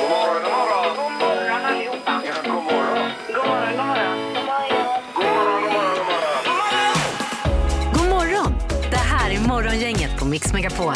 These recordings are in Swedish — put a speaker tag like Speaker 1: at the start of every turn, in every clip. Speaker 1: God morgon, god morgon.
Speaker 2: God morgon allihopa.
Speaker 1: Ja, god morgon.
Speaker 2: God morgon, god morgon.
Speaker 1: God morgon, god morgon, god morgon.
Speaker 3: God morgon! Det här är Morgongänget på Mix Megapol.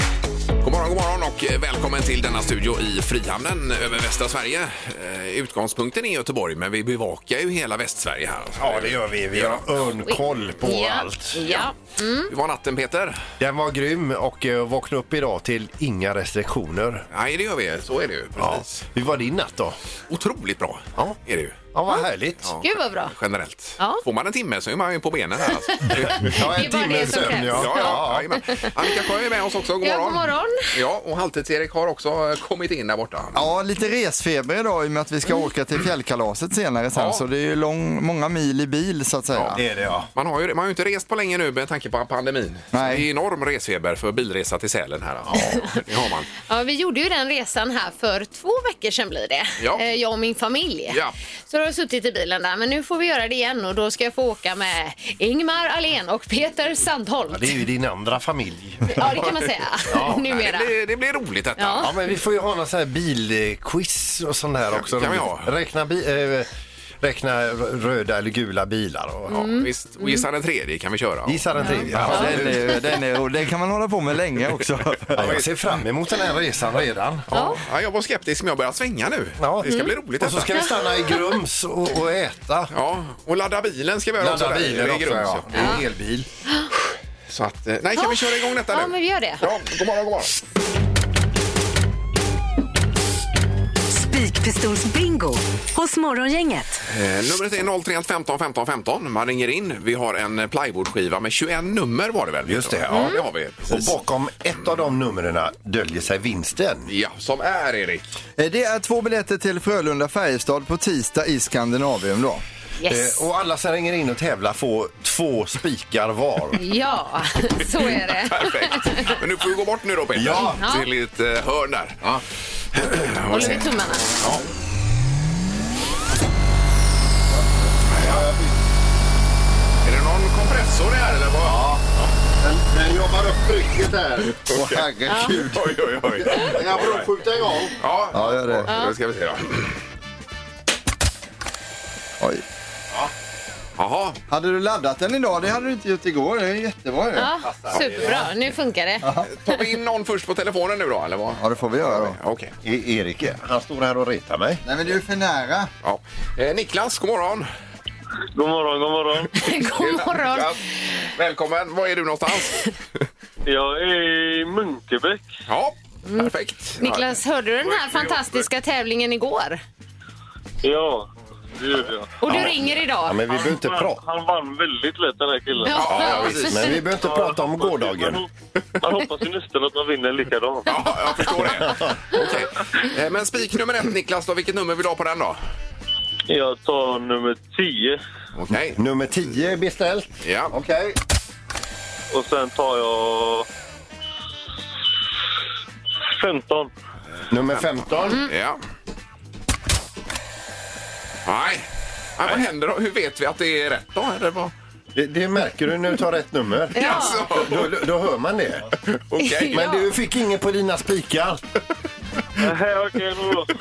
Speaker 4: God morgon, god morgon och eh, välkommen till denna studio i Frihamnen över västra Sverige. Eh, Utgångspunkten är Göteborg, men vi bevakar ju hela Västsverige här.
Speaker 5: Mm.
Speaker 6: Ja, det gör vi. Vi har örnkoll på allt.
Speaker 5: Ja.
Speaker 4: Hur var natten, Peter?
Speaker 6: Den var grym och eh, vaknade upp idag till inga restriktioner.
Speaker 4: Nej, det gör vi. Så är det ju.
Speaker 6: Ja.
Speaker 4: Precis.
Speaker 6: Hur var din natt då?
Speaker 4: Otroligt bra
Speaker 6: Ja.
Speaker 4: är det ju.
Speaker 6: Ja, vad härligt.
Speaker 4: Ja.
Speaker 5: Gud vad bra.
Speaker 4: Generellt.
Speaker 5: Ja.
Speaker 4: Får man en timme så är man ju på benen här. Alltså.
Speaker 6: Ja,
Speaker 5: Det är bara det som krävs.
Speaker 6: ja.
Speaker 4: Ja, ja, jajamän. Annika Sjö är med oss också. God
Speaker 5: Ja,
Speaker 4: morgon.
Speaker 5: god morgon.
Speaker 4: Ja, och Halvtids-Erik har också eh, kommit in där borta.
Speaker 7: Ja, lite resfeber idag i och med att vi ska åka till fjällkalaset senare sen.
Speaker 4: Ja.
Speaker 7: Så det är ju lång, många mil i bil så att säga.
Speaker 6: Det är det ja.
Speaker 4: Man har, ju, man har ju inte rest på länge nu med tanke på pandemin. Så
Speaker 7: Nej.
Speaker 4: Det är enorm resfeber för bilresa till Sälen här. Ja, det har man.
Speaker 5: Ja, vi gjorde ju den resan här för två veckor sedan blir det.
Speaker 4: Ja.
Speaker 5: Eh, Jag och min familj.
Speaker 4: Ja.
Speaker 5: Så då har jag suttit i bilen där. Men nu får vi göra det igen och då ska jag få åka med Ingmar Alén och Peter Sandholt.
Speaker 6: Det är ju din andra familj.
Speaker 5: Ja, det kan man säga
Speaker 4: Nej,
Speaker 5: numera.
Speaker 4: det, blir, det blir roligt detta.
Speaker 5: Ja.
Speaker 6: Ja, men vi får ju ha någon sån här bilquiz och sånt där också.
Speaker 4: kan vi ha.
Speaker 6: Räkna, bi- eh, räkna r- röda eller gula bilar. Och,
Speaker 4: Ja,
Speaker 5: Mm.
Speaker 4: Visst, och gissa den tredje kan vi köra.
Speaker 6: Gissa den tredje.
Speaker 7: Ja,
Speaker 6: Ja.
Speaker 7: Den, är, den, är, och den kan man hålla på med länge också.
Speaker 6: Ja, jag ser fram emot den här resan redan.
Speaker 5: Ja.
Speaker 4: Ja, jag var skeptisk men jag börjar svänga nu.
Speaker 6: Ja. Mm.
Speaker 4: Det ska bli roligt
Speaker 6: Och så
Speaker 4: detta.
Speaker 6: ska vi stanna i Grums och, och äta.
Speaker 4: Ja, och ladda bilen ska vi göra
Speaker 6: Ladda
Speaker 4: också där i-
Speaker 6: bilen
Speaker 4: i
Speaker 6: också.
Speaker 4: Grums,
Speaker 6: Ja.
Speaker 4: ja.
Speaker 6: Det är en elbil.
Speaker 4: Så att, eh, nej, kan vi köra igång detta nu?
Speaker 5: Ja, men vi gör det.
Speaker 4: Ja, god morgon, god morgon.
Speaker 3: Spikpistolsbingo hos Morgongänget.
Speaker 4: Eh, numret är 031 15 15 15. Man ringer in. Vi har en eh, plywoodskiva med 21 nummer var det väl?
Speaker 6: Just det,
Speaker 4: Ja, det har vi.
Speaker 6: Och
Speaker 4: Precis.
Speaker 6: bakom ett av de numren döljer sig vinsten.
Speaker 4: Ja, som är Erik.
Speaker 7: Eh, Det är två biljetter till Frölunda-Färjestad på tisdag i Skandinavium då.
Speaker 5: Yes.
Speaker 6: Eh, Och alla som ringer in och tävlar får två spikar var.
Speaker 5: Ja, så är det.
Speaker 4: Perfekt. Men nu får vi gå bort nu då Peter.
Speaker 6: Ja.
Speaker 4: Till ett eh, hörn där. Ja.
Speaker 5: Håller vi tummarna.
Speaker 4: Är det någon kompressor här eller vad? Ja.
Speaker 8: Den jobbar upp trycket här.
Speaker 7: Åh herregud.
Speaker 4: Oj, oj, oj.
Speaker 8: Jag får skjuta igång.
Speaker 4: Ja,
Speaker 7: Ja, gör det.
Speaker 4: då ska vi se då.
Speaker 7: Oj.
Speaker 4: Jaha,
Speaker 7: Hade du laddat den idag? Det hade du inte gjort igår. Det är jättebra ju.
Speaker 5: Ja, superbra, nu funkar det.
Speaker 4: tar vi in någon först på telefonen nu då eller vad?
Speaker 7: Ja, det får vi göra då.
Speaker 4: Okej.
Speaker 8: E Erik, han står här och retar mig.
Speaker 7: Nej, men du är för nära.
Speaker 4: Ja. Eh, Niklas, god morgon.
Speaker 9: God morgon, god morgon.
Speaker 5: God morgon.
Speaker 4: Niklas, Välkommen. Var är du någonstans?
Speaker 9: Jag är i Munkebäck.
Speaker 4: Ja, perfekt.
Speaker 5: Mm. Niklas, hörde du den här fantastiska tävlingen igår?
Speaker 9: Ja, det gjorde jag.
Speaker 5: Och du ringer
Speaker 6: Ja,
Speaker 5: idag?
Speaker 6: men vi behöver inte,
Speaker 9: Han,
Speaker 6: pra-
Speaker 9: han vann väldigt lätt den här killen.
Speaker 4: Ja, ja,
Speaker 6: men vi behöver inte prata om gårdagen.
Speaker 9: Han, han hoppas ju nästan att man vinner likadant.
Speaker 4: Ja, jag förstår det. Okej. Eh, Men spik nummer ett, Niklas. Då, vilket nummer vill du ha på den? då?
Speaker 9: Jag tar nummer 10
Speaker 4: Okej.
Speaker 6: Nummer 10 är beställt.
Speaker 4: Ja.
Speaker 6: Okej.
Speaker 9: och sen tar jag 15.
Speaker 6: Nummer 15.
Speaker 4: ja. Nej. Nej, vad händer då? Hur vet vi att det är rätt då? Eller vad?
Speaker 6: Det, det märker du när du tar rätt nummer.
Speaker 5: Ja.
Speaker 4: Alltså,
Speaker 6: Då, då- då hör man det.
Speaker 4: okej.
Speaker 6: Men du fick ingen på dina spikar.
Speaker 9: Nej, Eh, Okej, då.
Speaker 4: Bra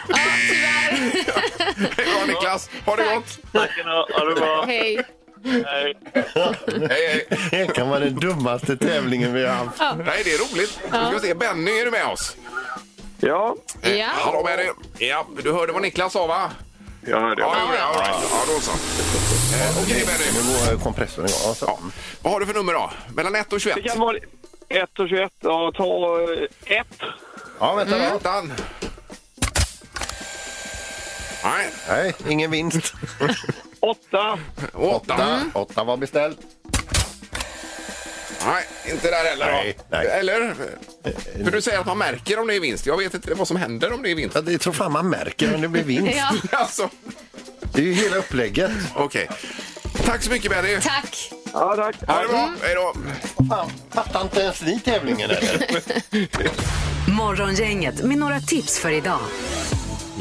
Speaker 4: Niklas. Ha det gott.
Speaker 9: Tack ska ni ha. Ha det bra.
Speaker 5: Hej.
Speaker 9: Hej.
Speaker 4: Hej, hej.
Speaker 6: Det kan vara den dummaste tävlingen vi har haft.
Speaker 4: Nej, det är roligt. Nu ska vi se. Benny, är du med oss?
Speaker 9: Ja,
Speaker 4: Eh,
Speaker 5: Ja.
Speaker 4: Hallå Benny. Ja, du hörde vad Niklas sa va?
Speaker 9: jag hörde.
Speaker 4: Ja, det gjorde jag. All right. Ja, då så. Eh, Okej Benny.
Speaker 6: Nu går kompressorn igång. Ja, så.
Speaker 4: Ja. Vad har du för nummer då? Mellan 1 och 21?
Speaker 9: Det kan vara 1 och 21. Ja, ta 1.
Speaker 6: Ja, vänta då.
Speaker 4: Ettan. Nej,
Speaker 6: Nej, ingen vinst.
Speaker 9: 8.
Speaker 4: åttan.
Speaker 6: Åtta. Åtta var beställt.
Speaker 4: Nej, inte där heller.
Speaker 6: Nej,
Speaker 4: då.
Speaker 6: nej.
Speaker 4: Eller? För du säger att man märker om det är vinst. Jag vet inte vad som händer om det är vinst.
Speaker 6: Ja, det tror fan man märker om det blir vinst.
Speaker 5: Ja,
Speaker 4: Alltså,
Speaker 6: Det är ju hela upplägget.
Speaker 4: okej. Tack så mycket, Benny.
Speaker 5: tack. Mm.
Speaker 9: Ja, tack.
Speaker 4: Ha det bra. Hej då.
Speaker 6: Fan, fattar inte ens ni tävlingen eller?
Speaker 3: Morgongänget med några tips för idag.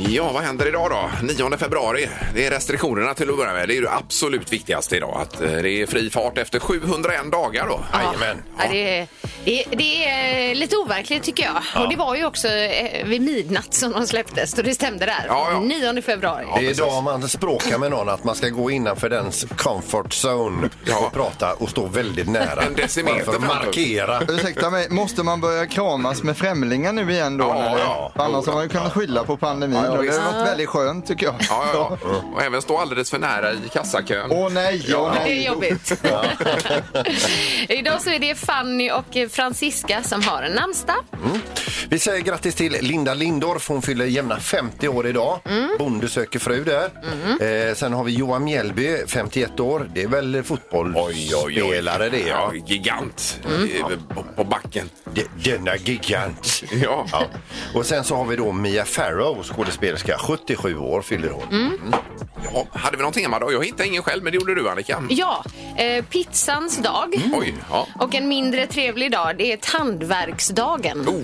Speaker 4: Ja, vad händer idag då? 9 februari. Det är restriktionerna till att börja med. Det är ju det absolut viktigaste idag. Att eh, det är fri fart efter 701 dagar då.
Speaker 6: Jajamän.
Speaker 5: Ja, det, är- det, är- det är lite overkligt tycker jag. Och det var ju också eh, vid midnatt som de släpptes, så det stämde där.
Speaker 4: Ja, ja.
Speaker 5: 9 februari.
Speaker 6: det är idag man språkar med någon att man ska gå innanför dens comfort zone
Speaker 4: Ja.
Speaker 6: och prata och stå väldigt nära.
Speaker 4: En decimeter
Speaker 6: Bara för att
Speaker 4: framför.
Speaker 6: markera.
Speaker 7: Ursäkta mig, måste man börja kramas med främlingar nu igen då?
Speaker 4: Ja,
Speaker 7: när det,
Speaker 4: ja.
Speaker 7: för annars har man ju kunnat skylla på pandemin. och det har varit väldigt skönt tycker jag.
Speaker 4: Ja, ja, ja. Och även stå alldeles för nära i kassakön.
Speaker 7: Åh nej, åh
Speaker 5: Det
Speaker 7: nej.
Speaker 5: är jobbigt. Idag så är det Fanny och eh, Franziska som har en namnsdag.
Speaker 6: Vi säger grattis till Linda Lindorff. Hon fyller jämna 50 år idag. Bonde söker fru där. Eh, sen har vi Johan Mjällby, 51 år. Det är väl fotbollsspelare det, ja.
Speaker 4: Ja, gigant
Speaker 5: Mm.
Speaker 4: eh, på, på backen.
Speaker 6: De- Denna gigant.
Speaker 4: Ja.
Speaker 6: Ja. Och sen så har vi då Mia Farrow, skådespelerska. 77 år fyller hon.
Speaker 4: Ja, hade vi någon tema då? Jag hittade ingen själv, men det gjorde du Annika.
Speaker 5: Ja, eh, pizzans dag.
Speaker 6: Mm.
Speaker 4: Oj, ja.
Speaker 5: Och en mindre trevlig dag, det är tandverksdagen.
Speaker 4: Oh,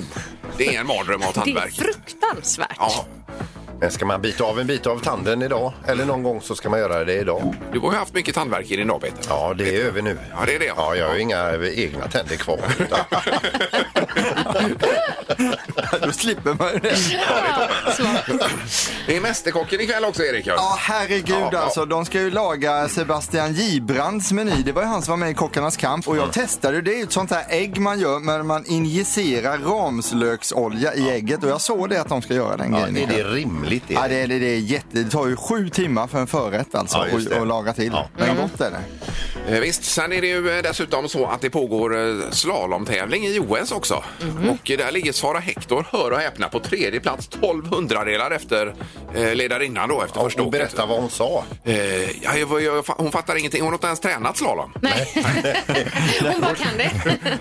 Speaker 4: det är en mardröm av
Speaker 5: det är
Speaker 4: tandvärk.
Speaker 5: fruktansvärt.
Speaker 4: Ja,
Speaker 6: Men ska man bita av en bit av tanden idag, eller någon gång så ska man göra det idag.
Speaker 4: du har ju haft mycket tandvärk i din dag Peter.
Speaker 6: Ja, det är över nu.
Speaker 4: Ja, det är det.
Speaker 6: Ja, jag har ju inga egna tänder kvar. utan-
Speaker 7: Då slipper man ju det.
Speaker 5: Ja, smart.
Speaker 4: Det är Mästerkocken ikväll också Erik.
Speaker 7: Ja,
Speaker 4: Ja.
Speaker 7: herregud
Speaker 4: Ja, ja.
Speaker 7: alltså. De ska ju laga Sebastian Gibrands meny. Det var ju han som var med i Kockarnas kamp. Och jag
Speaker 6: Mm.
Speaker 7: testade ju. Det är ju ett sånt här ägg man gör, men man injicerar ramslöksolja i ägget. Och jag såg det att de ska göra den
Speaker 6: Ja,
Speaker 7: grejen.
Speaker 6: är det rimligt? Är
Speaker 7: Ja,
Speaker 6: det?
Speaker 7: det, är- det, är jätte, det tar ju sju timmar för en förrätt alltså
Speaker 6: Ja, just
Speaker 7: och,
Speaker 6: det.
Speaker 7: och laga till.
Speaker 6: Ja. Mm.
Speaker 7: Men gott är det.
Speaker 4: Eh, Visst, sen är det ju eh, dessutom så att det pågår eh, slalomtävling i OS också. Och eh, där ligger Sara Hector, hör och häpna, på tredje plats 12 hundradelar efter eh, ledarinnan då efter
Speaker 6: Ja,
Speaker 4: första
Speaker 6: och
Speaker 4: åket.
Speaker 6: berätta vad hon sa.
Speaker 4: Eh, ja, jag, jag, hon fattar ingenting, hon har inte ens tränat slalom.
Speaker 5: Nej. Hon bara kan det.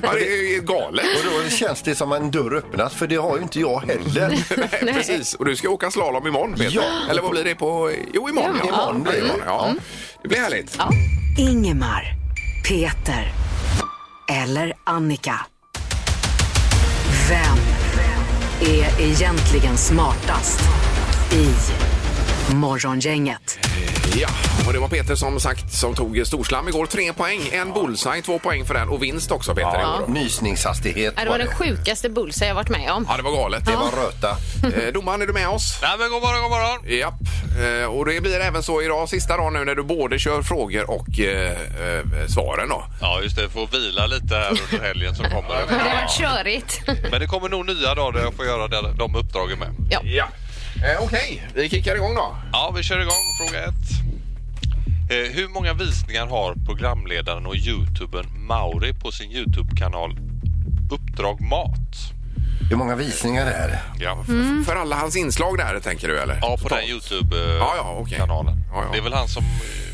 Speaker 4: Ja, det är ju galet.
Speaker 6: Och då känns det som en dörr öppnas, för det har ju inte jag heller.
Speaker 4: Nej, precis. Och du ska åka slalom imorgon, Peter.
Speaker 6: Ja.
Speaker 4: Eller vad blir det på... Jo, imorgon. Ja,
Speaker 6: Imorgon blir det.
Speaker 4: Ja, ja. Det blir härligt.
Speaker 3: Ingemar, Peter eller Annika. Vem är egentligen smartast i Morgongänget?
Speaker 4: Ja, och det var Peter som sagt som tog storslam igår. Tre poäng, en bullseye, två poäng för den och vinst också, Peter. igår då.
Speaker 6: Nysningshastighet
Speaker 5: Ja, Det var den sjukaste bullseye jag varit med om.
Speaker 4: Ja, det var galet.
Speaker 6: Det var röta.
Speaker 4: Eh, domaren, är du med oss?
Speaker 10: Nej, men god morgon, god morgon.
Speaker 4: Japp. Eh, Och det blir även så idag, sista dagen nu när du både kör frågor och eh, eh, svaren då.
Speaker 10: Ja, just det. Får vila lite här under helgen som kommer.
Speaker 5: Det har varit körigt.
Speaker 10: Men det kommer nog nya dagar där jag får göra de- de uppdragen med.
Speaker 4: Ja. Eh, Okej, vi kickar igång då.
Speaker 10: Ja, vi kör igång. Fråga ett. Eh, hur många visningar har programledaren och youtubern Mauri på sin Youtube-kanal Uppdrag Mat?
Speaker 6: Hur många visningar är det?
Speaker 4: Ja, f- För alla hans inslag där, tänker du? eller?
Speaker 10: Ja, på
Speaker 4: Mm. Totalt.
Speaker 10: den Youtube-kanalen.
Speaker 4: Ja, ja, okej. Ja, ja.
Speaker 10: Det är väl han som eh,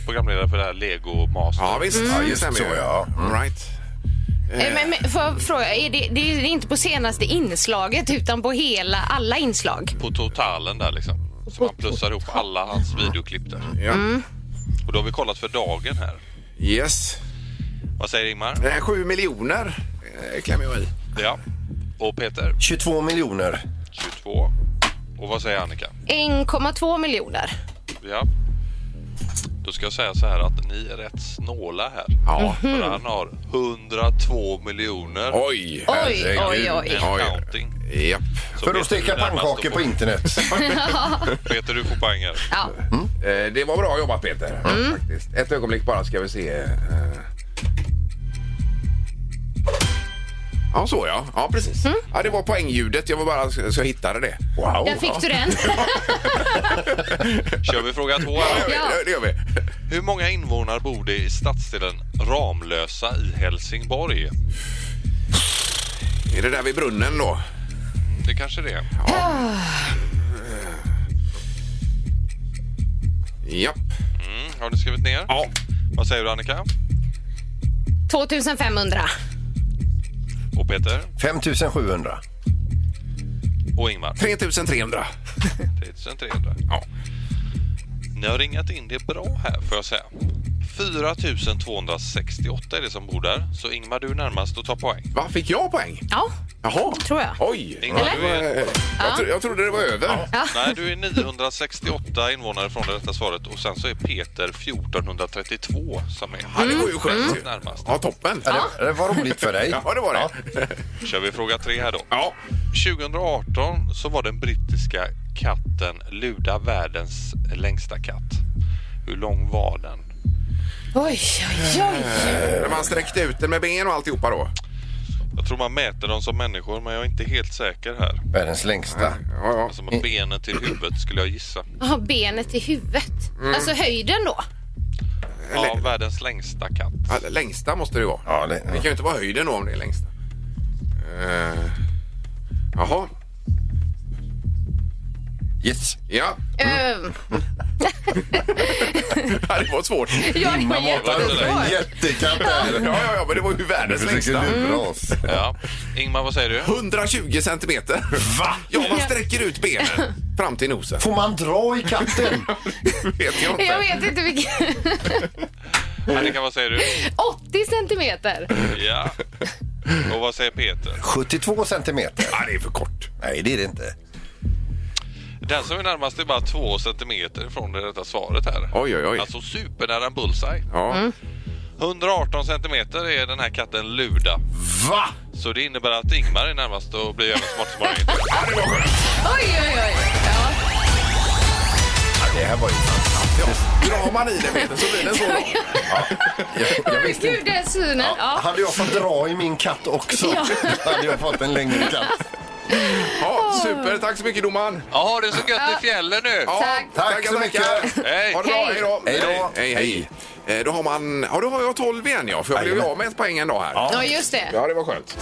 Speaker 10: programledare för det här Lego Master?
Speaker 4: Ja, visst. Ja, just så, ja. Mm. All right.
Speaker 5: Eh, Men, men får jag fråga, är det, det är inte på senaste inslaget utan på hela, alla inslag?
Speaker 10: På totalen där liksom. Så man plussar ihop alla hans videoklipp där.
Speaker 4: Ja.
Speaker 10: Och då har vi kollat för dagen här.
Speaker 4: Yes.
Speaker 10: Vad säger Ingmar?
Speaker 4: Eh, Sju miljoner eh, klämmer jag i.
Speaker 10: Ja. Och Peter?
Speaker 6: 22 miljoner.
Speaker 10: 22. Och vad säger Annika?
Speaker 5: 1,2 miljoner.
Speaker 10: Ja. Då ska jag säga så här att ni är rätt snåla här.
Speaker 4: Ja.
Speaker 10: För han har 102 miljoner.
Speaker 4: Oj!
Speaker 5: Oj, oj, oj.
Speaker 10: And counting.
Speaker 4: Japp.
Speaker 10: Så
Speaker 6: För
Speaker 10: Peter,
Speaker 6: att steka
Speaker 10: du är närmast
Speaker 6: pannkakor
Speaker 10: att
Speaker 6: på
Speaker 10: få-
Speaker 6: internet.
Speaker 10: Peter, du får poäng här.
Speaker 5: Ja.
Speaker 4: Eh, Det var bra jobbat, Peter. Faktiskt. Ett ögonblick bara, ska vi se. eh. Ja, så ja. Ja, precis. Ja, det var poängljudet. Jag var bara så jag hittade det. Wow.
Speaker 5: Där fick du den.
Speaker 10: Kör vi fråga två
Speaker 4: Ja,
Speaker 10: här.
Speaker 5: Ja.
Speaker 4: det- det gör vi.
Speaker 10: Hur många invånare bor det i stadsdelen Ramlösa i Helsingborg? Mm,
Speaker 4: Är det där vid brunnen då?
Speaker 10: Det kanske det är.
Speaker 4: Japp.
Speaker 10: Mm, har du skrivit ner?
Speaker 4: Ja.
Speaker 10: Vad säger du Annika?
Speaker 5: 2500.
Speaker 10: Och Peter?
Speaker 6: 5700.
Speaker 10: Och Ingmar?
Speaker 4: 3300.
Speaker 10: 3300.
Speaker 4: Ja.
Speaker 10: Ni har ringat in det bra här får jag säga. 4268 är det som bor där. Så Ingmar, du är närmast och tar poäng.
Speaker 4: Va, fick jag poäng?
Speaker 5: Ja,
Speaker 4: Jaha.
Speaker 5: tror jag.
Speaker 4: Oj!
Speaker 10: Ingmar,
Speaker 4: Ja,
Speaker 10: du
Speaker 4: det var- eh,
Speaker 10: är,
Speaker 4: Jag, tro, jag trodde det var över.
Speaker 10: nej, du är 968 invånare från det rätta svaret och sen så är Peter 1432 som är
Speaker 4: Ja, det var ju skönt. ju.
Speaker 10: närmast.
Speaker 4: Ja, toppen.
Speaker 6: Ja, det, det var roligt för dig.
Speaker 4: Ja, det var det.
Speaker 10: kör vi fråga tre här då.
Speaker 4: Ja.
Speaker 10: 2018 så var den brittiska katten Luda världens längsta katt. Hur lång var den?
Speaker 5: Oj, oj, oj.
Speaker 4: När man sträckte ut den med ben och alltihopa då.
Speaker 10: Jag tror man mäter dem som människor men jag är inte helt säker här.
Speaker 6: Världens längsta.
Speaker 4: Ja,
Speaker 10: Alltså med benen till huvudet skulle jag gissa.
Speaker 5: Ja, benet i huvudet. Alltså höjden då.
Speaker 10: Ja, världens längsta katt.
Speaker 4: ja. Längsta måste det vara.
Speaker 6: Ja, det,
Speaker 4: Det kan ju inte vara höjden då om det är längsta. Eh, jaha.
Speaker 6: yes.
Speaker 4: Ja. Mm.
Speaker 5: Ehm,
Speaker 4: Det var svårt.
Speaker 5: ja, det var
Speaker 10: matar upp
Speaker 5: jättesvårt.
Speaker 10: en
Speaker 6: Jättekatt
Speaker 4: Ja, ja, ja, men det var ju världens längsta.
Speaker 6: luras.
Speaker 10: Ja. Ingmar, vad säger du?
Speaker 4: 120 centimeter. Va? Ja, man sträcker ut benen fram till nosen.
Speaker 6: Får man dra i katten?
Speaker 4: vet jag inte.
Speaker 5: Jag vet inte vilken.
Speaker 10: Annika, vad säger du?
Speaker 5: 80 centimeter.
Speaker 10: Ja. Och vad säger Peter?
Speaker 6: 72 centimeter.
Speaker 4: Ja, det är för kort.
Speaker 6: Nej, det är det inte.
Speaker 10: Den som är närmast är bara två centimeter från det rätta svaret här.
Speaker 4: Oj, oj, oj.
Speaker 10: Alltså supernära en bullseye.
Speaker 4: Ja.
Speaker 10: 118 centimeter är den här katten Luda.
Speaker 6: Va?
Speaker 10: Så det innebär att Ingmar är närmast och blir även smart som morgonen.
Speaker 5: Oj, oj, oj. Ja.
Speaker 6: Det här var ju fantastiskt.
Speaker 4: Drar man i den benen så blir den så lång.
Speaker 6: Jag, jag visste
Speaker 5: Gud,
Speaker 6: inte.
Speaker 5: den synen. Ja.
Speaker 6: Hade jag fått dra i min katt också
Speaker 5: Ja.
Speaker 6: hade jag fått en längre katt.
Speaker 4: Ja, super. Tack så mycket domaren.
Speaker 10: Ja, det är så gött i fjällen nu!
Speaker 4: Ja,
Speaker 5: Tack.
Speaker 6: Tack så
Speaker 4: tackar.
Speaker 6: mycket.
Speaker 10: Hej!
Speaker 4: Ha det bra.
Speaker 5: Hej.
Speaker 4: Hej då.
Speaker 6: Hej då.
Speaker 4: Hej, hej. Eh, Då har man... Ja, då har jag 12 igen ja. För jag blev ju av med ett poäng en dag här.
Speaker 5: ja, just det.
Speaker 4: Ja, det var skönt.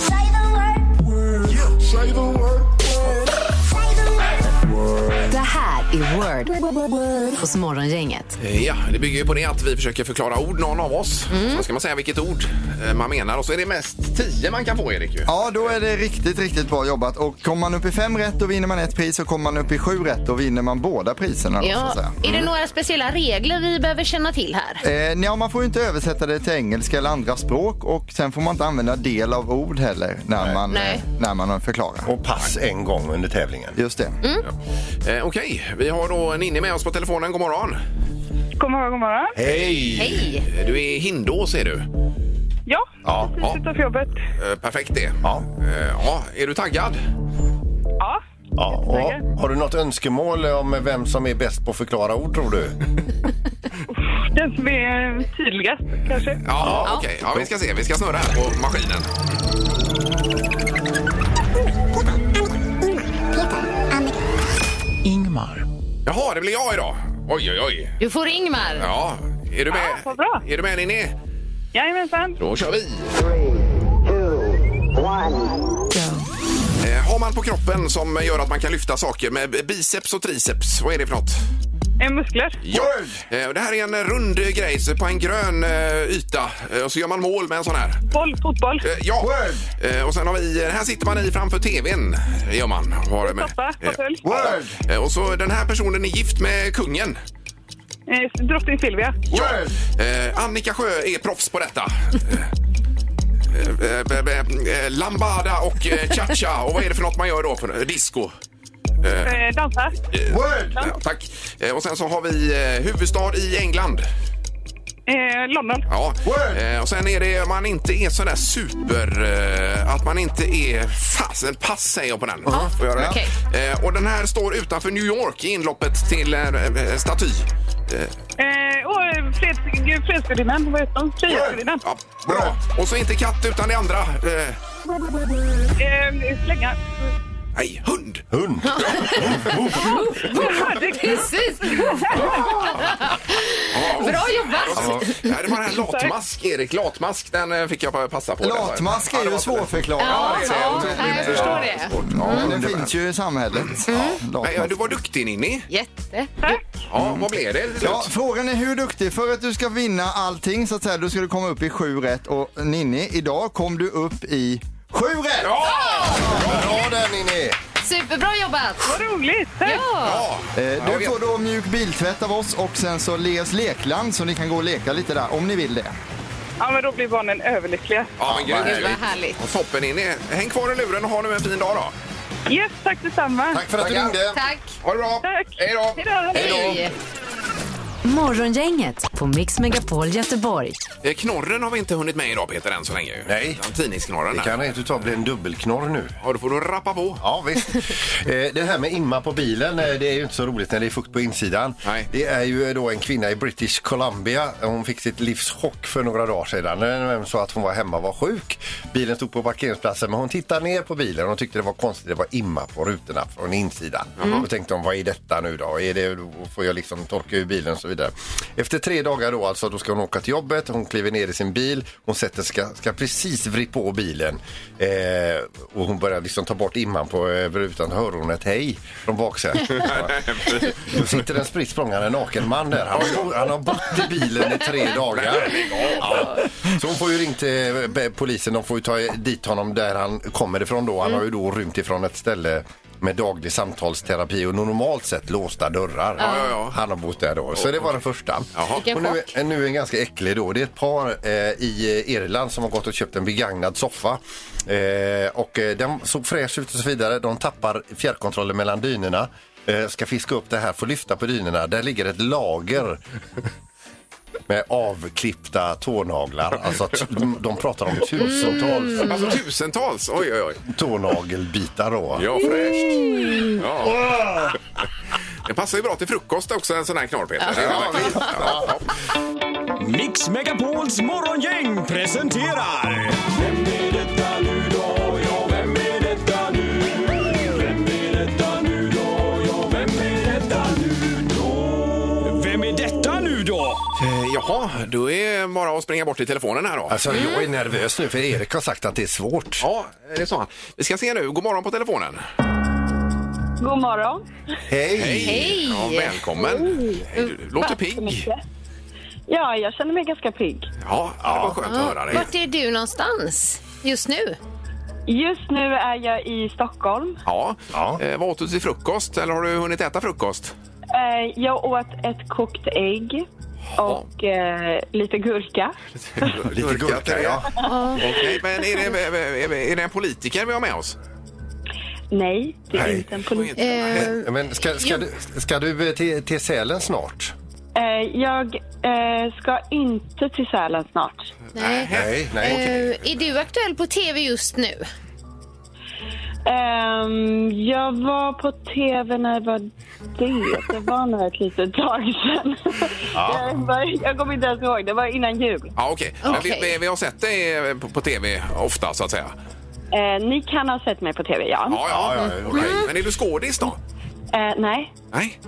Speaker 3: Det här är Word hos Morgongänget.
Speaker 4: Eh, Ja, det bygger ju på det att vi försöker förklara ord, någon av oss. Så ska man säga vilket ord eh, man menar. Och så är det mest 10 man kan få, Erik. Ju.
Speaker 7: Ja, då är det riktigt, riktigt bra jobbat. Och kommer man upp i fem rätt då vinner man ett pris och kommer man upp i sju rätt då vinner man båda priserna. Då, så att
Speaker 5: Ja.
Speaker 7: säga.
Speaker 5: Är det
Speaker 4: Mm.
Speaker 5: några speciella regler vi behöver känna till här?
Speaker 7: Eh, nej, man får ju inte översätta det till engelska eller andra språk och sen får man inte använda del av ord heller när man,
Speaker 5: Nej.
Speaker 7: eh, När man förklarar.
Speaker 6: Och pass en gång under tävlingen.
Speaker 7: Just det.
Speaker 5: Mm.
Speaker 4: Eh, Okej, vi har då Ninni med oss på telefonen. God morgon.
Speaker 2: God morgon, god morgon.
Speaker 6: Hej!
Speaker 5: Hej.
Speaker 4: Eh, Du är i Hindås, är du.
Speaker 2: Ja,
Speaker 4: Ja, ja.
Speaker 2: precis utanför jobbet.
Speaker 4: Eh, Perfekt det.
Speaker 6: Ja.
Speaker 4: Eh, Ja, är du taggad?
Speaker 2: Ja.
Speaker 6: Ja, och har du något önskemål om vem som är bäst på att förklara ord tror du?
Speaker 2: Den som är tydligast kanske.
Speaker 4: Ja, okej. Ja, vi ska se. Vi ska snurra här på maskinen.
Speaker 6: Ingmar.
Speaker 4: Jaha, det blir jag idag. Oj, oj, oj.
Speaker 5: Du får Ingmar.
Speaker 4: Ja, är du med?
Speaker 2: Ja, vad bra.
Speaker 4: Är du med Ninni?
Speaker 2: Jajamensan.
Speaker 4: Då kör vi! Eh, Har man på kroppen som gör att man kan lyfta saker med biceps och triceps, vad är det för något?
Speaker 2: En muskler.
Speaker 4: Ja. Eh, och Det här är en rund eh, grej så på en grön eh, yta Eh, och så gör man mål med en sån här.
Speaker 2: Boll, fotboll.
Speaker 4: Eh, Ja, Eh, och sen har vi, eh, här sitter man i framför tvn. Det gör man. Har det med.
Speaker 2: Soffa,
Speaker 4: Eh,
Speaker 2: fåtölj.
Speaker 7: Word!
Speaker 4: eh, Och så den här personen är gift med kungen.
Speaker 2: Eh, drottning Silvia.
Speaker 4: Word. Eh, Annika Sjö är proffs på detta. Eh, eh, eh, eh, eh, Lambada och eh, cha-cha. Och vad är det för något man gör då? För, eh, disco.
Speaker 2: Eh, dansa.
Speaker 4: Word. Ja, tack. Eh, och sen så har vi eh, huvudstad i England.
Speaker 2: Eh, London.
Speaker 4: Ja.
Speaker 6: Word.
Speaker 4: Eh, och sen är det man inte är sån där super... Eh, att man inte är... Fasen, pass säger jag på den. Får jag göra det?
Speaker 5: Okej.
Speaker 4: Eh, och den här står utanför New York i inloppet till eh, eh, staty.
Speaker 2: Eh, och eh, freds, gud, fredsgudinnan. Vad heter hon? Frihetsgudinnan.
Speaker 4: Ja, bra. Och så inte katt utan det andra. Eh,
Speaker 2: Eh, slänga.
Speaker 4: nej, hund.
Speaker 6: Hund.
Speaker 5: Precis. Bra jobbat.
Speaker 4: Ja, det var den här latmask, Erik. Latmask, den eh, fick jag passa på.
Speaker 7: Latmask är
Speaker 4: Ja, det
Speaker 7: ju
Speaker 4: var-
Speaker 7: svårförklarad.
Speaker 5: Ja,
Speaker 4: det är
Speaker 5: ja,
Speaker 4: otroligt.
Speaker 5: nej, jag förstår det.
Speaker 7: Men
Speaker 4: Mm.
Speaker 7: den finns ju i samhället.
Speaker 5: Mm.
Speaker 7: Ja,
Speaker 4: Men, ja, du
Speaker 7: latmask.
Speaker 4: var duktig, Ninni.
Speaker 5: Jätte.
Speaker 4: Ja, vad blev det till slut?
Speaker 7: Ja, frågan är hur duktig. För att du ska vinna allting så att säga, då ska du komma upp i sju rätt. Och Ninni, idag kom du upp i sju rätt!
Speaker 4: Ja!
Speaker 6: Bra där Ninni!
Speaker 5: Superbra jobbat!
Speaker 2: Vad roligt! Tack!
Speaker 5: Ja!
Speaker 7: Eh, Du får då mjuk biltvätt av oss och sen så Leos lekland så ni kan gå och leka lite där om ni vill det.
Speaker 2: Ja, men då blir barnen överlyckliga.
Speaker 4: Ja, men
Speaker 5: Gud,
Speaker 4: grymt.
Speaker 5: vad härligt.
Speaker 4: Och Toppen in i. Häng kvar i luren och ha nu en fin dag då.
Speaker 2: Yes, tack detsamma.
Speaker 6: Tack för att du
Speaker 4: Tackar.
Speaker 6: ringde.
Speaker 5: Tack!
Speaker 4: Ha det bra.
Speaker 2: Tack.
Speaker 4: Hej då.
Speaker 2: Hej då.
Speaker 5: Hej.
Speaker 3: Morgongänget på Mix Megapol Göteborg.
Speaker 4: Eh, Knorren har vi inte hunnit med idag Peter än så länge. ju.
Speaker 6: Nej.
Speaker 4: Utan Tidningsknorren.
Speaker 6: Det
Speaker 4: Kan...
Speaker 6: kan rent utav bli en dubbelknorr nu.
Speaker 4: Ja, då får du rappa på.
Speaker 6: Ja visst. Eh, Det här med imma på bilen, eh, det är ju inte så roligt när det är fukt på insidan.
Speaker 4: Nej.
Speaker 6: Det är ju då en kvinna i British Columbia. Hon fick sitt livs chock för några dagar sedan. Hon sa att hon var hemma och var sjuk. Bilen stod på parkeringsplatsen men hon tittade ner på bilen och tyckte det var konstigt. Det var imma på rutorna från insidan. Då tänkte hon, vad är detta nu då? Är det, får jag liksom torka ur bilen och så vidare. Efter tre dagar då alltså, då ska hon åka till jobbet. Hon kliver ner i sin bil. Hon sätter, ska, ska precis vrida på bilen. Eh, och hon börjar liksom ta bort imman på eh, rutan. Hör hon ett hej från baksätet? Då sitter en spritt språngande naken man där. Han, har- han har bott i bilen i tre dagar. Ja. Så hon får ju ringt eh, be- polisen. De får ju ta dit honom där han kommer ifrån då. Han har ju då
Speaker 4: Mm.
Speaker 6: rymt ifrån ett ställe med daglig samtalsterapi och normalt sett låsta dörrar.
Speaker 4: ja, ja.
Speaker 6: Han har bott där då. Så det var den första.
Speaker 4: Jaha.
Speaker 5: Vilken
Speaker 6: Och nu,
Speaker 5: chock.
Speaker 6: är- nu är en ganska äcklig då. Det är ett par eh, i eh, Irland som har gått och köpt en begagnad soffa. Eh, och eh, den såg fräsch ut och så vidare. De tappar fjärrkontrollen mellan dynorna. Eh, ska fiska upp det här, får lyfta på dynorna. Där ligger ett lager med avklippta tånaglar. Alltså att de pratar om tusentals
Speaker 4: Alltså tusentals. Oj, oj, oj.
Speaker 6: Mm. tånagelbitar då.
Speaker 4: Ja, fräscht. Ja. Det passar ju bra till frukost också, en sån här knorr Peter. Ja, visst. Ja.
Speaker 11: Mix Megapols morgongäng presenterar... Vem är detta nu då? Ja, vem är detta nu? Vem är detta nu då? Ja, vem är detta nu då? Vem är detta nu då?
Speaker 4: Eh, Jaha, då är det bara att springa bort till telefonen här då.
Speaker 6: Alltså jag är nervös nu för Erik har sagt att det är svårt.
Speaker 4: Ja, det sa han. Vi ska se nu. God morgon på telefonen.
Speaker 2: God morgon.
Speaker 6: Hej!
Speaker 5: Hej.
Speaker 4: Ja, välkommen! Hej, du låter
Speaker 2: Tack så
Speaker 4: pigg.
Speaker 2: mycket. Ja, jag känner mig ganska pigg.
Speaker 4: Ja, det var skönt att höra dig.
Speaker 5: Vart är du någonstans just nu?
Speaker 2: Just nu är jag i Stockholm.
Speaker 4: Ja.
Speaker 6: Ja.
Speaker 4: Eh, vad åt du till frukost? Eller har du hunnit äta frukost?
Speaker 2: Eh, Jag åt ett kokt ägg och eh, lite gurka.
Speaker 6: Lite gurka, ja.
Speaker 4: Okej, men är det, är, det- är det en politiker vi har med oss?
Speaker 2: Nej, det är
Speaker 6: Nej.
Speaker 2: inte en polis.
Speaker 5: Eh,
Speaker 6: Ja, Men ska, ska, du, ska du eh, till, till Sälen snart?
Speaker 2: Eh, Jag eh, ska inte till Sälen snart.
Speaker 5: Nej.
Speaker 6: Nej, nej.
Speaker 5: Eh, är du aktuell på tv just nu?
Speaker 2: Ehm, jag var på tv när var det? Det var nog ett litet tag sedan. jag, var, jag kommer inte ens ihåg. Det var innan jul.
Speaker 4: Ja, okej. Mm. Men
Speaker 5: Okej.
Speaker 4: Vi, vi, vi har sett dig eh, på, på tv ofta, så att säga.
Speaker 2: Eh, ni kan ha sett mig på tv, ja.
Speaker 4: Ja, ja, ja. okej. Men är du skådis då?
Speaker 2: Eh, nej,
Speaker 4: Nej.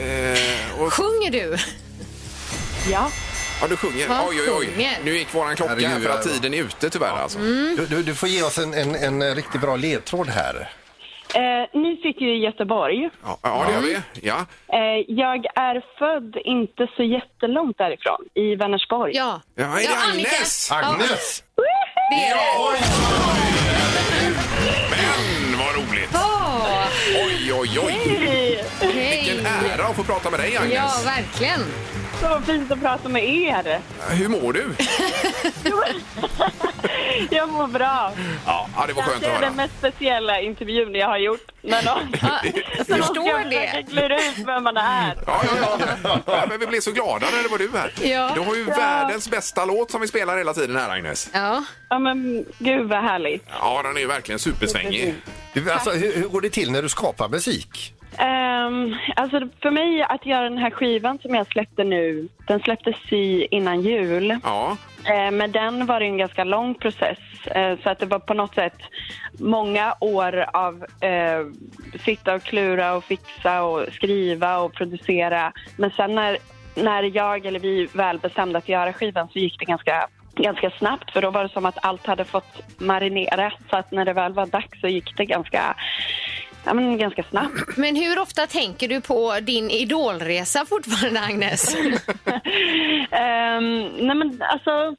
Speaker 4: Eh, och,
Speaker 5: Sjunger du?
Speaker 2: ja.
Speaker 4: ja, du sjunger.
Speaker 5: Vad
Speaker 4: Oj, oj, oj.
Speaker 5: sjunger?
Speaker 4: Nu gick våran klocka
Speaker 6: Herregud,
Speaker 4: här för att
Speaker 6: ja.
Speaker 4: tiden är ute tyvärr. Alltså.
Speaker 6: Du, du, du får ge oss en, en, en riktigt bra ledtråd här.
Speaker 2: Eh, ni sitter ju i Göteborg.
Speaker 4: Ja, ja, det gör vi. Ja.
Speaker 2: Eh, jag är född inte så jättelångt därifrån, i Vänersborg.
Speaker 5: Ja.
Speaker 4: Ja, är det Agnes?
Speaker 6: Agnes!
Speaker 5: Det är det.
Speaker 4: Oj, oj, oj. Men vad roligt!
Speaker 5: Ja,
Speaker 4: Oj, oj, oj!
Speaker 2: Hej!
Speaker 5: hej.
Speaker 4: Vilken ära att få prata med dig,
Speaker 5: Ja,
Speaker 4: Agnes.
Speaker 5: verkligen.
Speaker 2: Så fint att prata med er.
Speaker 4: Hur mår du?
Speaker 2: jag mår bra.
Speaker 4: Ja, ja, det var skönt
Speaker 2: Kanske
Speaker 4: att
Speaker 2: är den
Speaker 4: höra.
Speaker 2: mest speciella intervjun jag har gjort. Men
Speaker 5: Jag
Speaker 2: Men
Speaker 5: förstår
Speaker 2: Jag försöker
Speaker 5: det.
Speaker 2: klura ut vem man är.
Speaker 4: Ja, ja, ja. ja, men vi blev så glada när det var du här.
Speaker 5: Ja.
Speaker 4: Du har ju världens bästa låt som vi spelar hela tiden här, Agnes.
Speaker 5: Ja.
Speaker 2: Ja, men gud vad härligt.
Speaker 4: Ja, den är ju verkligen supersvängig.
Speaker 6: Du, alltså, hur, hur går det till när du skapar musik?
Speaker 2: Ehm, alltså för mig att göra den här skivan som jag släppte nu, den släpptes i innan jul.
Speaker 4: Ja,
Speaker 2: Eh, men den var det en ganska lång process. Eh, så att det var på något sätt många år av eh, sitta och klura och fixa och skriva och producera. Men sen när, när jag eller vi väl bestämde att göra skivan så gick det ganska ganska snabbt för då var det som att allt hade fått marinera så att när det väl var dags så gick det ganska, ja, men ganska snabbt.
Speaker 5: Men hur ofta tänker du på din idolresa fortfarande, Agnes?
Speaker 2: Ehm, nej men alltså,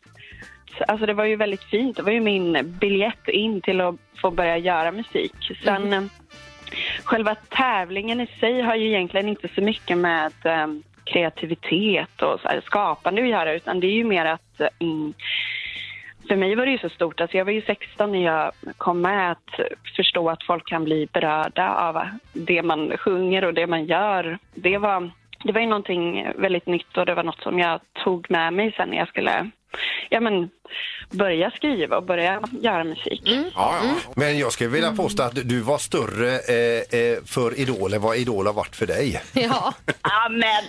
Speaker 2: alltså, det var ju väldigt fint. Det var ju min biljett in till att få börja göra musik. Sen själva tävlingen i sig har ju egentligen inte så mycket med eh, kreativitet och så här, skapande att göra utan det är ju mer att eh, mm, för mig var det ju så stort, alltså jag var ju 16 när jag kom med, att förstå att folk kan bli berörda av det man sjunger och det man gör. Det var, det var ju någonting väldigt nytt och det var något som jag tog med mig sen när jag skulle ja, men, börja skriva och börja göra musik.
Speaker 4: Mm.
Speaker 6: Men jag skulle vilja påstå att du var större eh, eh, för Idol än vad Idol har varit för dig.
Speaker 5: Ja.
Speaker 2: Amen.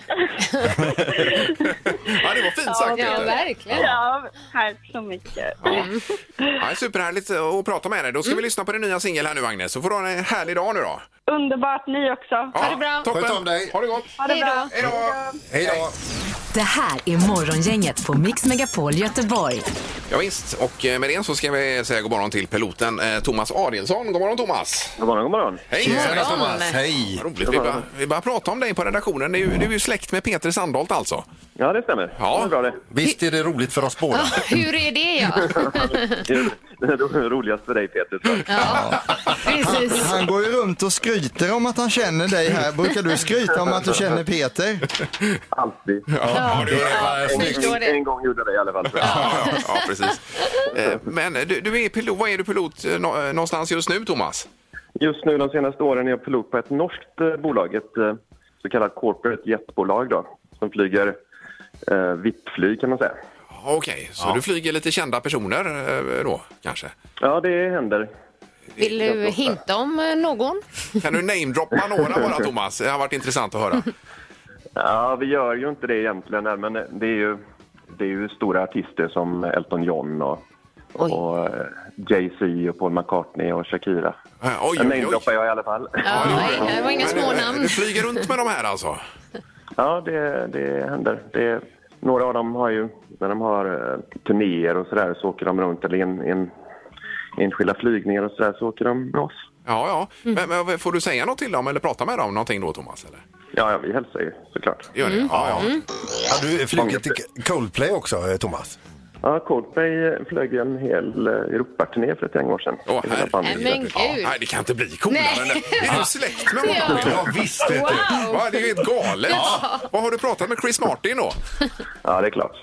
Speaker 4: Ja, det var fint sagt.
Speaker 5: Ja,
Speaker 4: Peter.
Speaker 5: verkligen.
Speaker 2: Ja, tack så mycket.
Speaker 4: Ja, superhärligt att prata med dig. Då ska vi lyssna på din nya singel här nu, Agnes. Så får du ha en härlig dag nu då.
Speaker 2: Underbart, ni också.
Speaker 4: Ja, Toppen.
Speaker 6: Sköt om dig.
Speaker 4: Ha det gott.
Speaker 2: Ha det bra.
Speaker 4: Hej då.
Speaker 6: Hej då.
Speaker 3: Det här är Morgongänget på Mix Megapol Göteborg.
Speaker 4: Ja, visst. och eh, med det så ska vi säga god morgon till piloten eh, Thomas Adielsson. God morgon Thomas!
Speaker 12: God morgon, god morgon.
Speaker 4: Hej!
Speaker 6: Tjena
Speaker 4: Thomas.
Speaker 6: Thomas, hej.
Speaker 4: Vad Roligt. Vi bara, vi bara pratar om dig på redaktionen. Du, är ju- du är ju släkt med Peter Sandholt alltså.
Speaker 12: Ja, det stämmer.
Speaker 4: Ja.
Speaker 12: Det är bra det.
Speaker 6: Visst är det roligt för oss båda?
Speaker 5: Hur är det ja?
Speaker 12: Det är- Det är ro- roligast för dig, Peter. tror jag.
Speaker 5: ja. Precis.
Speaker 7: Han går ju runt och skryter om att han känner dig här. Brukar du skryta om att du känner Peter?
Speaker 12: Alltid.
Speaker 4: Ja, det är-
Speaker 6: Ja,
Speaker 12: En,
Speaker 6: snyggt.
Speaker 5: förstår
Speaker 12: gång-
Speaker 5: det.
Speaker 12: en gång gjorde jag det i alla fall. tror jag.
Speaker 4: ja, ja, precis. Eh, Men eh, du, du är pilot, vad är du pilot eh, nå- eh, någonstans just nu Thomas?
Speaker 12: Just nu de senaste åren är jag pilot på ett norskt eh, bolag, ett eh, så kallat corporate jetbolag då, som flyger eh, VIP-flyg kan man säga.
Speaker 4: Okej, så du flyger lite kända personer eh, då kanske?
Speaker 12: Ja, det händer.
Speaker 5: Vill du hinta om eh, någon?
Speaker 4: Kan du namedroppa några bara Thomas? Det har varit intressant att höra.
Speaker 12: Ja, vi gör ju inte det egentligen, nej, men eh, det är ju, det är ju stora artister som Elton John och,
Speaker 5: Oj.
Speaker 12: och eh, Jay-Z och Paul McCartney och Shakira.
Speaker 4: Eh, Oj,
Speaker 12: Den
Speaker 4: oj, oj.
Speaker 12: namedroppar jag i alla fall.
Speaker 5: Ja, inga- det var inga små
Speaker 4: Men, eh,
Speaker 5: namn.
Speaker 4: Du flyger runt med de här alltså?
Speaker 12: Ja, det, Eh, det händer. Det, några av dem har ju, när de har eh, turnéer och sådär så åker de runt, eller en, en, enskilda flygningar och sådär så åker de med oss.
Speaker 4: Ja, ja. Men, men får du säga något till dem eller prata med dem någonting då Thomas? Eller?
Speaker 12: Ja, ja, vi hälsar ju såklart.
Speaker 4: Gör ni? Ja, ja.
Speaker 6: Har du flugit till Coldplay också, eh, Thomas?
Speaker 12: Ja, Coldplay flög ju en hel eh, Europaturné för ett gäng år sedan.
Speaker 4: Åh,
Speaker 12: I hela
Speaker 4: herre.
Speaker 12: familjen.
Speaker 5: Nej, men gud.
Speaker 4: nej, det kan inte bli coolare
Speaker 5: Nej.
Speaker 4: än det. Är du släkt med honom?
Speaker 5: Ja.
Speaker 6: Ja, visst vet du.
Speaker 5: Wow!
Speaker 4: Va, det är ju helt galet. Vad har du pratat med Chris Martin då?
Speaker 12: Ja, det är klart.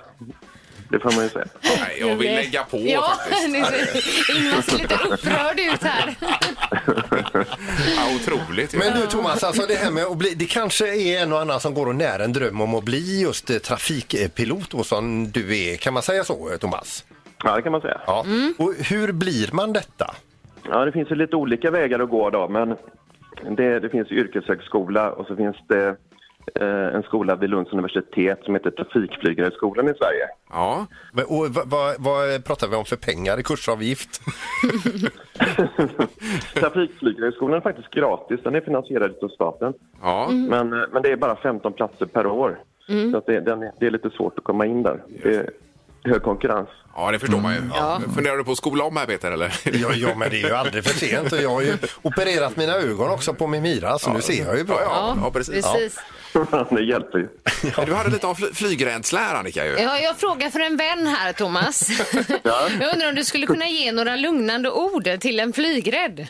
Speaker 12: Det får man ju säga.
Speaker 4: Nej, jag vill lägga på
Speaker 5: Ja,
Speaker 4: faktiskt.
Speaker 5: nu ser Ingmar ser lite upprörd ut här.
Speaker 4: Ja, otroligt. ju.
Speaker 6: Men du Thomas, alltså det här med att bli, det kanske är en och annan som går och när en dröm om att bli just eh, trafikpilot och som du är. Kan man säga så eh, Thomas?
Speaker 12: Ja, det kan man säga.
Speaker 6: Ja.
Speaker 4: Mm.
Speaker 6: Och hur blir man detta?
Speaker 12: Ja, det finns ju lite olika vägar att gå då, men det, det finns ju yrkeshögskola och så finns det eh, en skola vid Lunds universitet som heter Trafikflygarhögskolan i Sverige.
Speaker 4: Ja.
Speaker 6: Men, och, vad, vad, vad pratar vi om för pengar i kursavgift?
Speaker 12: Trafikflygarhögskolan är faktiskt gratis, den är finansierad av staten.
Speaker 4: Ja.
Speaker 12: Men, eh, men det är bara 15 platser per år, så att det, den, är- det är lite svårt att komma in där. Det är hög konkurrens.
Speaker 4: ja, det förstår man
Speaker 5: Mm.
Speaker 4: ju. Ja. Funderar du på att skola om här Peter eller?
Speaker 6: Ja, ja, men det är ju aldrig för sent och jag har ju opererat mina ögon också på Mimira så nu ser jag ju bra.
Speaker 4: Ja, ja, precis.
Speaker 5: Precis.
Speaker 12: det hjälper ju.
Speaker 4: Du hade lite av fly- flygrädsla här Annika ju.
Speaker 5: Ja, jag frågar för en vän här, Thomas. Jag undrar om du skulle kunna ge några lugnande ord till en flygrädd?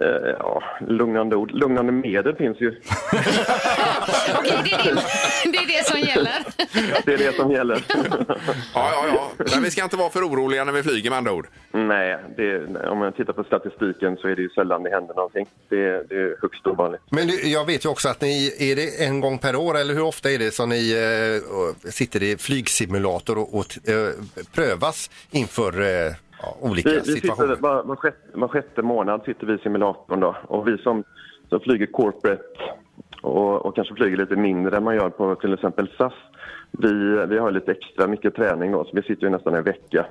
Speaker 12: Eh, ja, lugnande ord. Lugnande medel finns ju.
Speaker 5: Okej, det, är det, det är det som gäller.
Speaker 12: Det är det som gäller.
Speaker 4: Ja, ja, ja. Men vi ska inte vara för oroliga när vi flyger med andra ord.
Speaker 12: Nej, det, om man tittar på statistiken så är det ju sällan det händer någonting. Det, det är högst ovanligt.
Speaker 6: Men du, jag vet ju också att ni, är det en gång per år eller hur ofta är det som ni eh, sitter i flygsimulator och, och eh, prövas inför eh, ja, olika
Speaker 12: Vi, vi sitter
Speaker 6: situationer?
Speaker 12: var, var, sjätte, var sjätte månad sitter vi i simulatorn då. Och vi som, som flyger corporate och, och kanske flyger lite mindre än man gör på till exempel SAS. Vi, vi har lite extra mycket träning då, så vi sitter ju nästan en vecka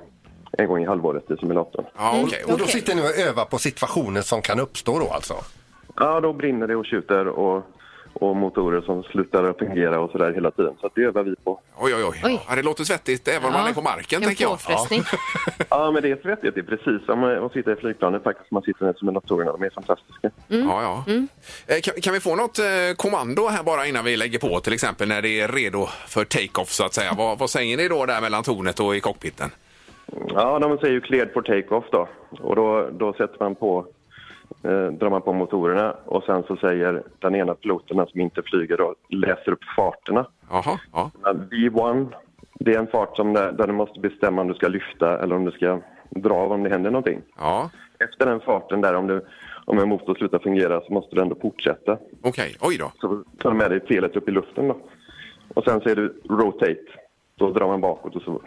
Speaker 12: en gång i halvåret i simulatorn.
Speaker 4: Ja,
Speaker 5: Mm.
Speaker 4: okej.
Speaker 6: Och då sitter ni och övar på situationer som kan uppstå då alltså?
Speaker 12: Ja, då brinner det och tjuter och, och motorer som slutar att fungera och sådär hela tiden. Så att det övar vi på.
Speaker 4: Oj, oj, oj.
Speaker 5: Oj.
Speaker 4: Ja, det låter svettigt även om man är på marken,
Speaker 5: en
Speaker 4: tänker jag.
Speaker 5: påfrestning.
Speaker 12: Ja, men det är svettigt. Det är precis som eh, att sitta i flygplanet faktiskt. Man sitter med simulatorerna. De är fantastiska.
Speaker 5: Mm.
Speaker 4: Ja, ja. Eh, Kan, kan vi få något eh, kommando här bara innan vi lägger på, till exempel när det är redo för take-off så att säga? Vad, vad säger ni då där mellan tornet och i cockpiten?
Speaker 12: Ja, de säger ju cleared for take-off då. Och då, då sätter man på eh, drar man på motorerna och sen så säger den ena piloten den som inte flyger och läser upp farterna.
Speaker 4: Jaha, ja.
Speaker 12: Men V1, det är en fart som där, där du måste bestämma om du ska lyfta eller om du ska dra av om det händer någonting.
Speaker 4: Ja.
Speaker 12: Efter den farten där, om, du, om en motor slutar fungera så måste du ändå fortsätta.
Speaker 4: Okej, oj då.
Speaker 12: Så tar du med dig felet upp i luften då. Och sen så är det rotate. Då drar man bakåt och så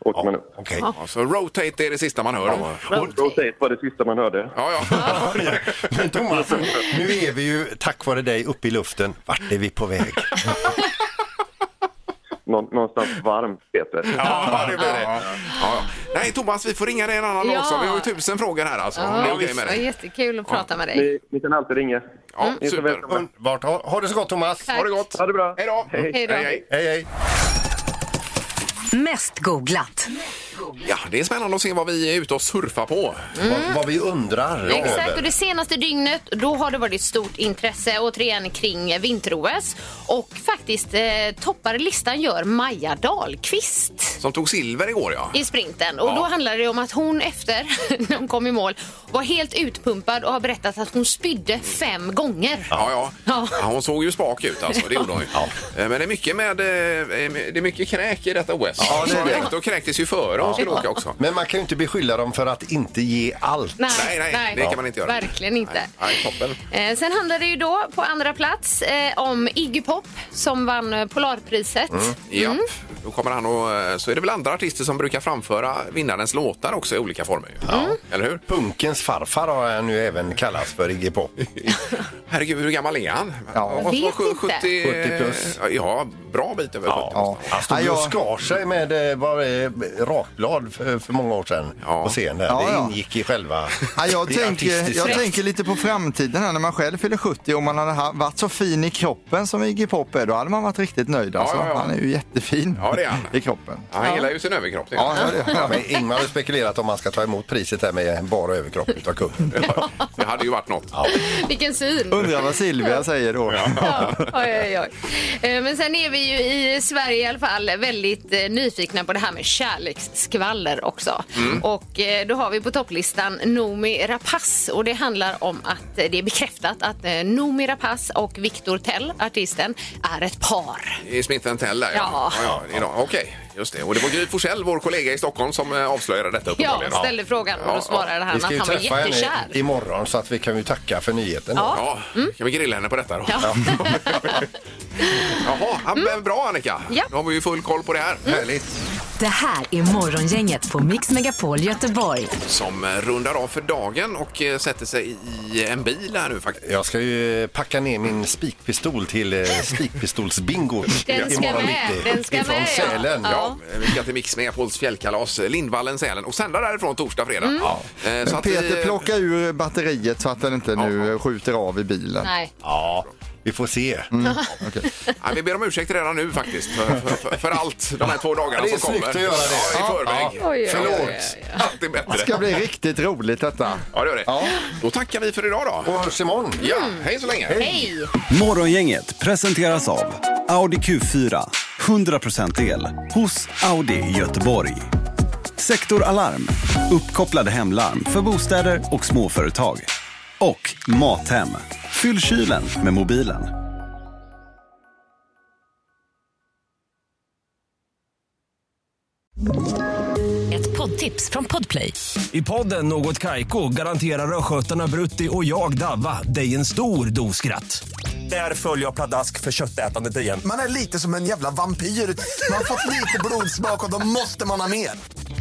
Speaker 12: åker man upp.
Speaker 4: Okej. Ja, så rotate är det sista man hör då.
Speaker 12: Och rotate var det sista man hörde.
Speaker 4: Ja, ja.
Speaker 6: Men Thomas, nu är vi ju tack vare dig uppe i luften. Vart är vi på väg?
Speaker 12: Nå- någonstans varmt, Peter.
Speaker 4: Ja, det blir det. Ja. Ja. Nej, Thomas, vi får ringa dig en annan dag
Speaker 5: Ja.
Speaker 4: också. Vi har ju tusen frågor här alltså.
Speaker 5: Ja,
Speaker 4: det är okej
Speaker 5: visst.
Speaker 4: med
Speaker 5: Det var
Speaker 4: dig.
Speaker 5: jättekul att prata med dig.
Speaker 12: Ni, ni kan alltid ringa.
Speaker 4: Ja,
Speaker 12: Ni är så
Speaker 5: Mm.
Speaker 4: super.
Speaker 12: välkomna.
Speaker 6: Underbart. Ha, ha det så gott Thomas.
Speaker 5: Tack. Ha det
Speaker 4: gott.
Speaker 12: Ha det bra.
Speaker 4: Hej då.
Speaker 5: Hej då.
Speaker 4: hej.
Speaker 6: Hej, hej.
Speaker 3: Mest googlat.
Speaker 4: Ja, det är spännande att se vad vi är ute och surfar på.
Speaker 6: Vad, vad vi undrar
Speaker 5: Exakt, och
Speaker 6: över.
Speaker 5: det senaste dygnet då har det varit stort intresse återigen kring eh, vinter-OS. Och faktiskt eh, toppar listan gör Maja Dahlqvist.
Speaker 4: Som tog silver igår, ja.
Speaker 5: i sprinten. Och
Speaker 4: Ja.
Speaker 5: då handlade det om att hon efter när hon kom i mål var helt utpumpad och har berättat att hon spydde fem gånger.
Speaker 4: Ja, ja. Ja, Hon såg ju spak ut alltså, det gjorde hon ju. Eh, Men det är mycket med, eh, det är mycket kräk i detta OS.
Speaker 6: Ja, det är det.
Speaker 4: Direkt och kräktes ju före hon skulle åka också.
Speaker 6: Men man kan ju inte beskylla dem för att inte ge allt.
Speaker 5: Nej,
Speaker 4: Nej, nej, det kan man inte göra.
Speaker 5: Verkligen inte.
Speaker 4: Nej, toppen.
Speaker 5: Eh, sen handlade det ju då på andra plats eh, om Iggy Pop som vann eh, Polarpriset.
Speaker 4: Ja,
Speaker 5: Mm.
Speaker 4: då kommer han och eh, så är det väl andra artister som brukar framföra vinnarens låtar också i olika former. ju.
Speaker 5: Mm.
Speaker 4: Eller hur?
Speaker 6: Punkens farfar har han ju även kallats för Iggy Pop.
Speaker 4: Herregud, hur gammal är han?
Speaker 6: Ja.
Speaker 4: Vad-
Speaker 5: Vet
Speaker 4: vad-
Speaker 5: inte.
Speaker 6: 70 plus.
Speaker 4: Ja, bra bit över 70
Speaker 6: Ja. Han stod ju och skar sig med eh, var, eh, rakblad för, för många år sedan på scenen. Där.
Speaker 7: Ja,
Speaker 6: det
Speaker 7: ja.
Speaker 6: ingick i själva
Speaker 7: Ja, jag,
Speaker 6: det
Speaker 7: tänker,
Speaker 6: artistiska.
Speaker 7: jag tänker lite på framtiden här när man själv fyller 70 och man hade ha- varit så fin i kroppen som Iggy Pop är, då hade man varit riktigt nöjd. Alltså.
Speaker 4: ja, ja.
Speaker 7: Han är ju jättefin
Speaker 4: Ja, det är han.
Speaker 7: i kroppen.
Speaker 4: Ja, Han gillar ju sin överkropp. det är
Speaker 7: Ja,
Speaker 4: han.
Speaker 7: ja, det
Speaker 6: Ja, men Ingmar har ju spekulerat om man ska ta emot priset här med bara överkropp utav kungen.
Speaker 4: Det hade ju varit något.
Speaker 5: Vilken syn!
Speaker 7: Undrar vad Silvia säger då.
Speaker 5: Ja, oj, oj, oj. Eh, Men sen är vi ju i Sverige i alla fall väldigt eh, nyfikna på det här med kärleksskvaller också.
Speaker 6: Mm.
Speaker 5: Och eh, då har vi på topplistan Noomi Rapace och det handlar om att eh, det är bekräftat att eh, Noomi Rapace och Victor Tell, artisten, är ett par.
Speaker 4: I Smith Tell där,
Speaker 5: Ja.
Speaker 4: ja, ja idag. Okej, just det. Och det var Gry Forssell, vår kollega i Stockholm, som eh, avslöjade detta
Speaker 5: Ja,
Speaker 4: uppenbarligen.
Speaker 5: ställde frågan och då svarade han att
Speaker 6: Vi ska ju
Speaker 5: han var
Speaker 6: träffa henne
Speaker 5: jättekär.
Speaker 6: imorgon så att vi kan ju tacka för nyheten.
Speaker 5: Ja.
Speaker 4: Ja, kan vi grilla henne på detta då?
Speaker 5: Ja. Mm.
Speaker 4: Jaha, ja, men bra Annika.
Speaker 5: Ja. Mm.
Speaker 4: Då har vi ju full koll på det här.
Speaker 6: Härligt.
Speaker 3: Det här är Morgongänget på Mix Megapol Göteborg.
Speaker 4: Som eh, rundar av för dagen och eh, sätter sig i en bil här nu faktiskt.
Speaker 6: Jag ska ju eh, packa ner min spikpistol till eh, spikpistolsbingo
Speaker 5: Den ska
Speaker 6: imorgon
Speaker 5: med,
Speaker 6: bitti.
Speaker 5: den ska
Speaker 6: ifrån
Speaker 5: med, ja.
Speaker 6: Sälen.
Speaker 5: Ja.
Speaker 4: Ja, Eh, vi ska till Mix Megapols fjällkalas, eh, Lindvallen, Sälen och sända därifrån torsdag, fredag.
Speaker 5: Mm.
Speaker 4: Ja. Eh, så att
Speaker 7: Peter,
Speaker 4: vi-
Speaker 7: plocka ur batteriet så att den inte nu skjuter av i bilen.
Speaker 5: Nej.
Speaker 6: Ja, vi får se.
Speaker 5: Mm.
Speaker 4: Ja, vi ber om ursäkt redan nu faktiskt för, för, för, för allt de här två dagarna
Speaker 6: Det är
Speaker 4: som kommer.
Speaker 6: snyggt att göra det.
Speaker 4: Ja, I förväg.
Speaker 5: Oj, oj, oj,
Speaker 6: Förlåt.
Speaker 4: Alltid
Speaker 7: Det
Speaker 4: bättre.
Speaker 7: ska bli riktigt roligt detta.
Speaker 4: Ja, det gör det.
Speaker 7: Ja.
Speaker 4: Då tackar vi för idag då.
Speaker 6: Och hörs imorgon.
Speaker 4: Ja, hej så länge.
Speaker 5: Hej!
Speaker 11: Morgongänget presenteras av Audi Q4. 100% el hos Audi Göteborg. Sektor Alarm. Uppkopplade hemlarm för bostäder och småföretag. Och Mathem. Fyll kylen med mobilen.
Speaker 3: Ett poddtips från Podplay.
Speaker 13: I podden Något Kaiko garanterar östgötarna Brutti och jag, Davva, dig en stor dos skratt. Där följer jag pladask för köttätandet igen.
Speaker 14: Man är lite som en jävla vampyr. Man har fått lite blodsmak och då måste man ha mer.